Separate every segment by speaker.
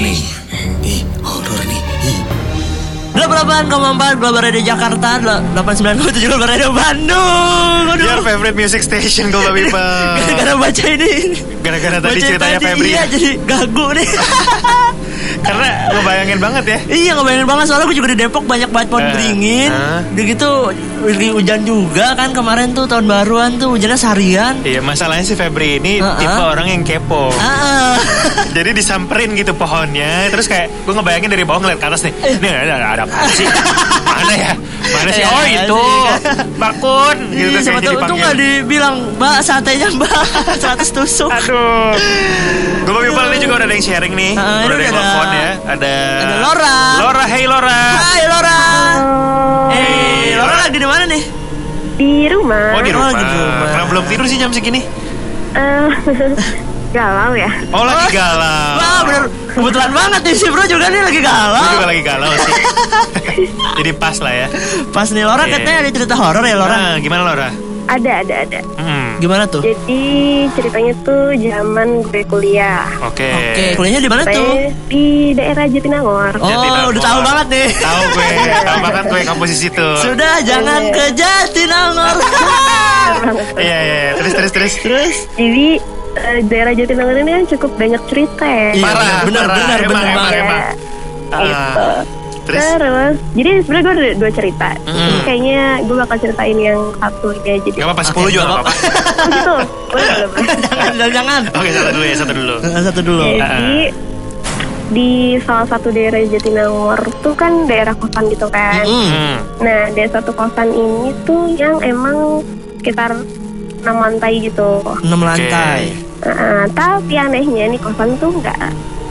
Speaker 1: nih. Ih, horor nih. Ih.
Speaker 2: 88,4 Global Radio Jakarta 89,7 Global Radio Bandung Aduh
Speaker 1: Your favorite music station Global People.
Speaker 2: Gara-gara baca ini
Speaker 1: Gara-gara Iya, tadi
Speaker 2: Baca
Speaker 1: ceritanya Febri
Speaker 2: Iya
Speaker 1: ya.
Speaker 2: jadi gagu nih
Speaker 1: Karena ngebayangin banget ya.
Speaker 2: Iya ngebayangin banget soalnya gue juga di Depok banyak banget pohon
Speaker 1: Eh,
Speaker 2: beringin
Speaker 1: ah.
Speaker 2: Udah gitu lagi hujan juga kan kemarin tuh tahun baruan tuh hujannya seharian
Speaker 1: Iya, masalahnya si Febri ini
Speaker 2: Uh-uh.
Speaker 1: tipe orang yang kepo.
Speaker 2: Ah, ah.
Speaker 1: Jadi disamperin gitu pohonnya, terus kayak gue ngebayangin dari bawah ngeliat ke atas nih.
Speaker 2: Eh.
Speaker 1: Ini ada, ada apa sih? Mana ya? Mana sih? Oh itu, bakun. Gitu
Speaker 2: Ih,
Speaker 1: terus kayak
Speaker 2: Siapa
Speaker 1: jadi
Speaker 2: tahu untung gak
Speaker 1: panggil.
Speaker 2: dibilang Mbak satenya mbak 100 tusuk
Speaker 1: Aduh. Gue mau people ini juga udah ada yang sharing nih.
Speaker 2: Ah, ini
Speaker 1: udah ada yang
Speaker 2: udah ada-
Speaker 1: telepon ya. Ada.
Speaker 2: ada Laura.
Speaker 1: Laura, hey Laura.
Speaker 2: Hai Laura Eh Laura lagi di mana nih?
Speaker 3: Di rumah.
Speaker 1: Oh di rumah.
Speaker 2: lagi di rumah.
Speaker 1: Kenapa belum tidur sih jam segini?
Speaker 3: Eh, galau ya.
Speaker 1: Oh
Speaker 2: Oh.
Speaker 1: lagi galau.
Speaker 2: Wah bener kebetulan banget nih si bro juga nih lagi
Speaker 1: Gue
Speaker 2: galau
Speaker 1: juga lagi galau sih. Jadi pas lah ya.
Speaker 2: Pas nih Laura
Speaker 1: Iya.
Speaker 2: katanya ada cerita horor ya Laura
Speaker 1: Ah, gimana Laura?
Speaker 3: Ada, ada, ada.
Speaker 1: Hmm.
Speaker 2: Gimana tuh?
Speaker 3: Jadi ceritanya tuh zaman gue kuliah.
Speaker 1: Oke.
Speaker 2: Oke kuliahnya di mana tuh?
Speaker 3: Saya di daerah Jatinangor.
Speaker 2: Oh
Speaker 1: Jatinangor.
Speaker 2: udah tahu banget nih
Speaker 1: Tahu gue, tahu banget gue kampus di situ.
Speaker 2: Sudah jangan ke Jatinangor
Speaker 1: Iya iya, iya. terus terus terus.
Speaker 2: Terus
Speaker 3: Jadi eh, daerah Jatinangor ini kan cukup banyak cerita ya.
Speaker 2: Iya,
Speaker 1: Parah,
Speaker 2: benar,
Speaker 1: parah.
Speaker 2: benar, Iya.
Speaker 1: Emang,
Speaker 2: benar
Speaker 1: emang,
Speaker 2: banget.
Speaker 1: emang. Ah,
Speaker 3: Gitu.
Speaker 1: Terus
Speaker 3: Terus, jadi sebenarnya gue ada dua cerita. Jadi Kayaknya gue bakal ceritain yang satu aja. Jadi,
Speaker 1: Gak apa-apa,
Speaker 2: gak
Speaker 1: 10 juga gak apa-apa
Speaker 3: oh gitu. Boleh, boleh, boleh.
Speaker 2: jangan jangan, jangan
Speaker 1: Oke, satu dulu ya, satu dulu
Speaker 2: Eh, Satu dulu
Speaker 3: Jadi di salah satu daerah Jatinangor tuh kan daerah kosan gitu kan.
Speaker 2: Mm.
Speaker 1: Hmm.
Speaker 3: Nah, dari satu kosan ini tuh yang emang sekitar enam lantai gitu.
Speaker 2: 6 lantai
Speaker 3: Nah, tapi anehnya nih kosan tuh nggak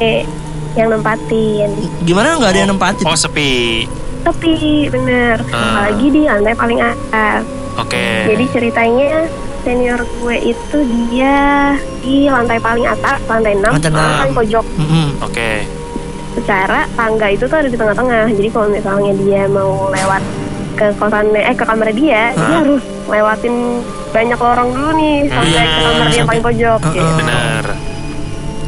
Speaker 3: eh yang nempatin.
Speaker 2: Gimana nggak ada yang nempatin?
Speaker 1: Oh, sepi
Speaker 3: Tapi bener,
Speaker 1: Ah.
Speaker 3: apalagi di lantai paling atas.
Speaker 1: Oke
Speaker 2: Eh.
Speaker 3: Jadi ceritanya senior gue itu dia di lantai paling atas, lantai 6,
Speaker 2: Lantai enam.
Speaker 3: paling pojok.
Speaker 2: Mm-mm.
Speaker 1: Oke
Speaker 3: Secara tangga itu tuh ada di tengah-tengah. Jadi kalau misalnya dia mau lewat ke kosannya eh ke kamar dia, dia
Speaker 1: Ah.
Speaker 3: harus lewatin banyak lorong dulu nih
Speaker 1: Iya,
Speaker 3: sampai ke kamar dia yang paling pojok.
Speaker 2: Sampai-
Speaker 3: gitu.
Speaker 2: Ah,
Speaker 1: Benar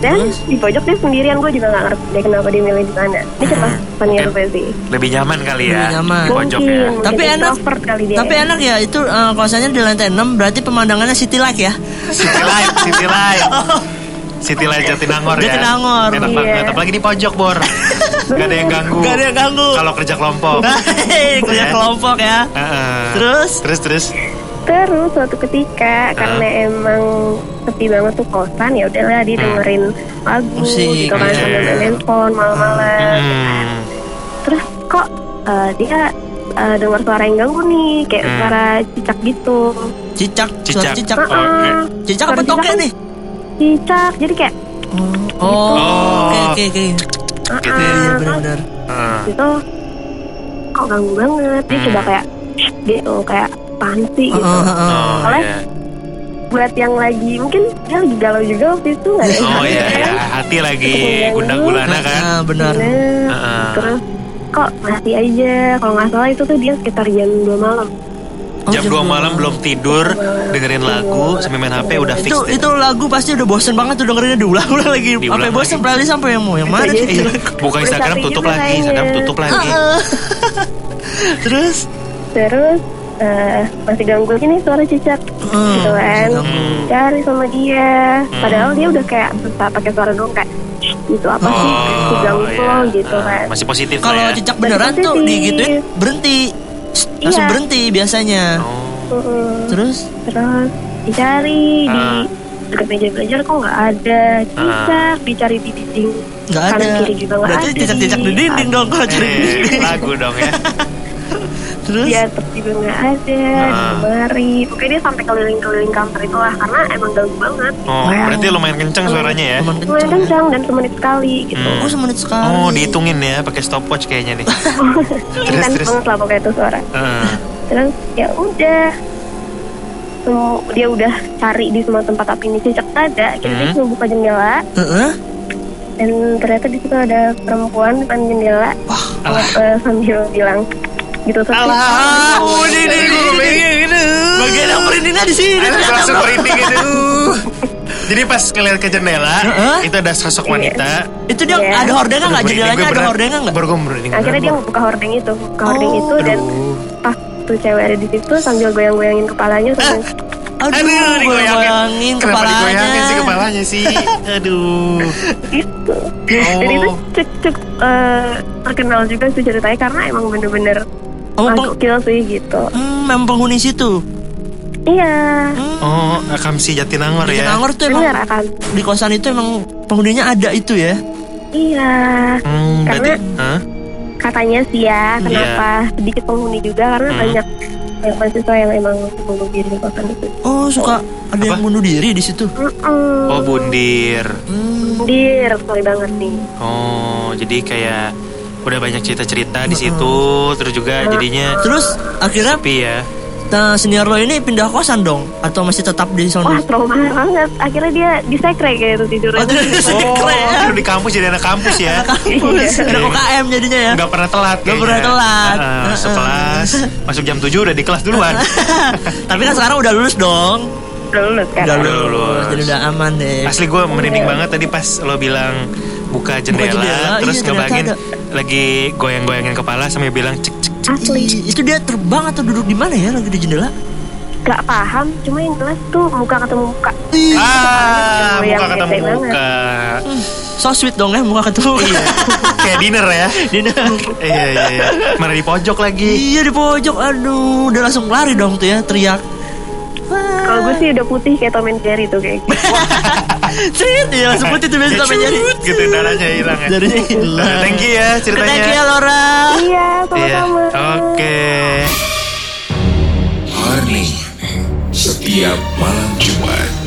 Speaker 3: Dan di pojok dia sendirian, gue juga nggak ngerti dia kenapa dia milih di mana. Ini cuma senior gue sih.
Speaker 1: Lebih nyaman kali ya
Speaker 2: Lebih nyaman.
Speaker 1: Di pojok ya
Speaker 3: Mungkin,
Speaker 2: Tapi
Speaker 3: mungkin
Speaker 2: enak.
Speaker 3: introvert kali dia.
Speaker 2: Tapi
Speaker 3: ya.
Speaker 2: enak ya itu eh, kosannya di lantai 6 berarti pemandangannya city light ya.
Speaker 1: City Light, City Light City Light Jatinangor ya
Speaker 2: Jatinangor.
Speaker 1: Enak
Speaker 3: Iya.
Speaker 1: banget, apalagi di pojok, Bor Gak ada yang ganggu
Speaker 2: Gak ada yang ganggu.
Speaker 1: Kalau kerja kelompok
Speaker 2: Hei, kerja
Speaker 1: Ya.
Speaker 2: kelompok ya.
Speaker 1: Heeh.
Speaker 2: Terus?
Speaker 1: Terus, terus
Speaker 3: Terus suatu ketika karena emang sepi banget tuh kosan ya udahlah dia dengerin lagu
Speaker 2: Musik,
Speaker 3: gitu
Speaker 1: iya.
Speaker 3: kan sambil main handphone malam-malam.
Speaker 1: Hmm.
Speaker 3: Terus kok eh, dia eh, dengar suara yang ganggu nih kayak
Speaker 1: Hmm.
Speaker 3: suara cicak gitu.
Speaker 2: Cicak,
Speaker 1: Cicak. oh,
Speaker 2: cicak, cicak.
Speaker 3: Heeh.
Speaker 1: Oke.
Speaker 2: Cicak apa
Speaker 3: Suara cicak
Speaker 2: tokek
Speaker 3: kan
Speaker 2: nih?
Speaker 3: Cicak jadi kayak
Speaker 2: Oh, oke
Speaker 1: Oh.
Speaker 2: oke oke.
Speaker 1: Gitu ya
Speaker 2: Iya benar-benar.
Speaker 1: Heeh.
Speaker 3: gitu kok ganggu banget dia
Speaker 1: Hmm.
Speaker 3: coba kayak "Shh," gitu kayak pansi gitu.
Speaker 2: Heeh, heeh.
Speaker 1: Oh,
Speaker 3: Oleh.
Speaker 1: iya.
Speaker 3: Buat yang lagi mungkin dia lagi galau juga waktu itu nggak ada yang
Speaker 1: Oh
Speaker 3: tahu,
Speaker 1: iya,
Speaker 3: kan?
Speaker 1: ya. hati lagi gundang gulana kan.
Speaker 2: Nah, benar.
Speaker 3: Bener.
Speaker 1: Heeh.
Speaker 3: Terus kok masih aja kalau nggak salah itu tuh dia sekitar jam 2 malam.
Speaker 2: Oh,
Speaker 1: Jam 2 malam belum tidur, dengerin lagu, sambil main HP udah fix.
Speaker 2: Itu
Speaker 1: deh.
Speaker 2: itu lagu pasti udah bosen banget tuh dengerinnya diulang-ulang lagi.
Speaker 1: Diulang
Speaker 2: Sampai bosen
Speaker 1: lagi.
Speaker 2: berarti sampai yang mau yang mana Ah,
Speaker 3: Iya.
Speaker 2: tuh?
Speaker 1: Buka
Speaker 3: Udah
Speaker 1: Instagram
Speaker 3: capek
Speaker 1: tutup
Speaker 3: juga
Speaker 1: lagi,
Speaker 3: kayaknya.
Speaker 1: Instagram tutup lagi.
Speaker 2: Terus
Speaker 3: Terus eh, masih ganggu ini suara cicak
Speaker 2: Hmm,
Speaker 3: gitu kan.
Speaker 2: masih ganggu. Hmm.
Speaker 3: Cari sama dia. Padahal dia udah kayak bentar pakai suara doang kayak "Shh, gitu apa
Speaker 2: Oh,
Speaker 3: sih Aku ganggu
Speaker 1: Oh, iya.
Speaker 3: lo," gitu
Speaker 1: Heeh,
Speaker 3: kan.
Speaker 1: Masih positif
Speaker 2: kalau
Speaker 1: lah ya.
Speaker 2: cicak beneran
Speaker 3: Masih
Speaker 2: tuh
Speaker 3: positif.
Speaker 2: digituin berhenti. Sst, Langsung
Speaker 3: Iya.
Speaker 2: berhenti biasanya.
Speaker 1: Oh.
Speaker 3: Mm-mm.
Speaker 2: Terus
Speaker 3: Terus dicari di
Speaker 1: Ah.
Speaker 3: dekat meja belajar kok nggak ada cicak dicari di dinding
Speaker 2: Ah. Nggak
Speaker 3: kanan
Speaker 2: ada.
Speaker 3: kiri juga nggak
Speaker 2: Berarti
Speaker 3: ada
Speaker 2: cicak-cicak di dinding dong kalau cari di
Speaker 1: Eh,
Speaker 2: dinding.
Speaker 1: lagu dong ya.
Speaker 2: Terus
Speaker 3: Iya, terus juga nggak ada, di
Speaker 1: Ah.
Speaker 3: lemari. Pokoknya dia sampai keliling-keliling kamar itu lah, karena emang ganggu banget.
Speaker 1: Oh, berarti lumayan kenceng suaranya ya.
Speaker 2: Cuman
Speaker 3: Lumayan
Speaker 2: kenceng.
Speaker 3: kencang dan semenit sekali gitu.
Speaker 1: Hmm.
Speaker 2: Oh semenit sekali.
Speaker 1: Oh, dihitungin ya pakai stopwatch kayaknya nih.
Speaker 3: Intens
Speaker 1: terus. Eh.
Speaker 3: banget lah pokoknya itu suara.
Speaker 1: Heeh.
Speaker 3: Terus ya udah, Tuh, dia udah cari di semua tempat tapi ini cicak nggak ada. Jadi dia
Speaker 1: Hmm.
Speaker 3: cuma buka jendela
Speaker 2: Heeh.
Speaker 3: dan ternyata di situ ada perempuan depan jendela eh, sambil bilang gitu terus.
Speaker 1: Alah,
Speaker 2: Oh, ini ini ini, ini. Bagian yang merindingnya di sini.
Speaker 1: Aduh,
Speaker 2: ternyata,
Speaker 1: langsung
Speaker 2: Bro.
Speaker 1: merinding itu. Jadi pas ngeliat ke jendela,
Speaker 2: Heeh.
Speaker 1: itu ada sosok wanita.
Speaker 2: Itu dia
Speaker 3: Iya.
Speaker 2: ada hordengnya nggak?
Speaker 1: Aduh, merinding
Speaker 2: Jendelanya
Speaker 1: gue
Speaker 2: ada
Speaker 1: beneran.
Speaker 2: hordengnya nggak?
Speaker 1: Baru gue merinding
Speaker 3: akhirnya dia
Speaker 1: beneran.
Speaker 3: buka hordeng itu buka hordeng
Speaker 2: Oh,
Speaker 3: itu dan
Speaker 1: aduh.
Speaker 3: pas tuh cewek ada di situ sambil goyang-goyangin
Speaker 1: Ah.
Speaker 3: kepalanya sambil
Speaker 2: Aduh,
Speaker 1: Aduh, digoyangin.
Speaker 2: goyangin
Speaker 1: Kenapa digoyangin sih
Speaker 2: kepalanya.
Speaker 1: kepalanya sih? Aduh.
Speaker 3: gitu
Speaker 1: Oh.
Speaker 3: dan itu cukup eh, terkenal juga sih ceritanya karena emang bener-bener
Speaker 2: Oh,
Speaker 3: masuk kill sih gitu
Speaker 2: Hmm, memang penghuni situ.
Speaker 3: iya
Speaker 1: Oh, Akamsi Jatinangor
Speaker 2: Di
Speaker 1: ya.
Speaker 2: Kenangor tuh emang
Speaker 3: bener kan? akan
Speaker 2: di kosan itu emang penghuninya ada itu ya.
Speaker 3: iya
Speaker 1: Hmm, berarti, Hah?
Speaker 3: katanya sih ya kenapa sedikit penghuni juga
Speaker 1: Iya.
Speaker 3: karena
Speaker 1: Hmm.
Speaker 3: banyak banyak mahasiswa yang emang bunuh diri di kosan itu
Speaker 2: Oh, suka ada yang bunuh diri di situ.
Speaker 3: Mm-mm.
Speaker 1: Oh, bundir.
Speaker 2: Hmm.
Speaker 3: Dir, sorry banget nih.
Speaker 1: Oh, jadi kayak udah banyak cerita-cerita di situ, terus juga jadinya
Speaker 2: Terus akhirnya
Speaker 1: sepi ya.
Speaker 2: nah, senior lo ini pindah kosan dong atau masih tetap di
Speaker 3: Wah,
Speaker 2: sana?
Speaker 3: trauma banget. Akhirnya dia disekre kayak itu tidurnya.
Speaker 2: Oh, terus
Speaker 1: Oh,
Speaker 2: keren.
Speaker 1: lu di kampus jadi anak kampus ya.
Speaker 2: Kampus, ada UKM jadinya ya.
Speaker 1: Gak pernah telat
Speaker 2: Nggak
Speaker 1: kayaknya.
Speaker 2: pernah telat.
Speaker 1: Heeh, masuk
Speaker 2: Heeh.
Speaker 1: kelas, masuk jam 7 udah di kelas duluan.
Speaker 2: Tapi kan sekarang udah lulus dong.
Speaker 3: Udah lulus
Speaker 2: Eh,
Speaker 3: kan?
Speaker 2: Udah
Speaker 1: lulus.
Speaker 2: lulus, jadi udah aman deh.
Speaker 1: Asli gue merinding banget tadi pas lo bilang buka jendela,
Speaker 2: jendela,
Speaker 1: terus
Speaker 2: iya,
Speaker 1: ngebayangin
Speaker 2: ternyata
Speaker 1: lagi goyang-goyangin kepala sambil bilang cek cek.
Speaker 3: Asli.
Speaker 2: Ih, itu dia terbang atau duduk di mana ya lagi di jendela?
Speaker 3: Gak paham, cuma yang jelas tuh muka ketemu muka.
Speaker 2: Ih, iya,
Speaker 1: Ah,
Speaker 3: Goyang
Speaker 1: muka ketemu
Speaker 3: bete banget.
Speaker 1: muka.
Speaker 2: so sweet dong ya muka ketemu.
Speaker 1: Iya. Kayak dinner ya. Iya iya iya. Mana di pojok lagi.
Speaker 2: iya di pojok, aduh, udah langsung lari dong tuh ya, teriak.
Speaker 3: Kalau gue sih udah putih kayak Tom and Jerry tuh kayak gitu.
Speaker 2: Cerit, ya langsung putih tuh biasa
Speaker 1: Kayak
Speaker 2: sampai jadi.
Speaker 1: cut gitu darahnya hilang ya.
Speaker 2: Jadinya hilang.
Speaker 1: Thank you ya ceritanya.
Speaker 2: Iya. Thank you ya Laura.
Speaker 3: Iya,
Speaker 1: Iya.
Speaker 3: sama-sama.
Speaker 1: Oke.
Speaker 4: Horny setiap malam Jumat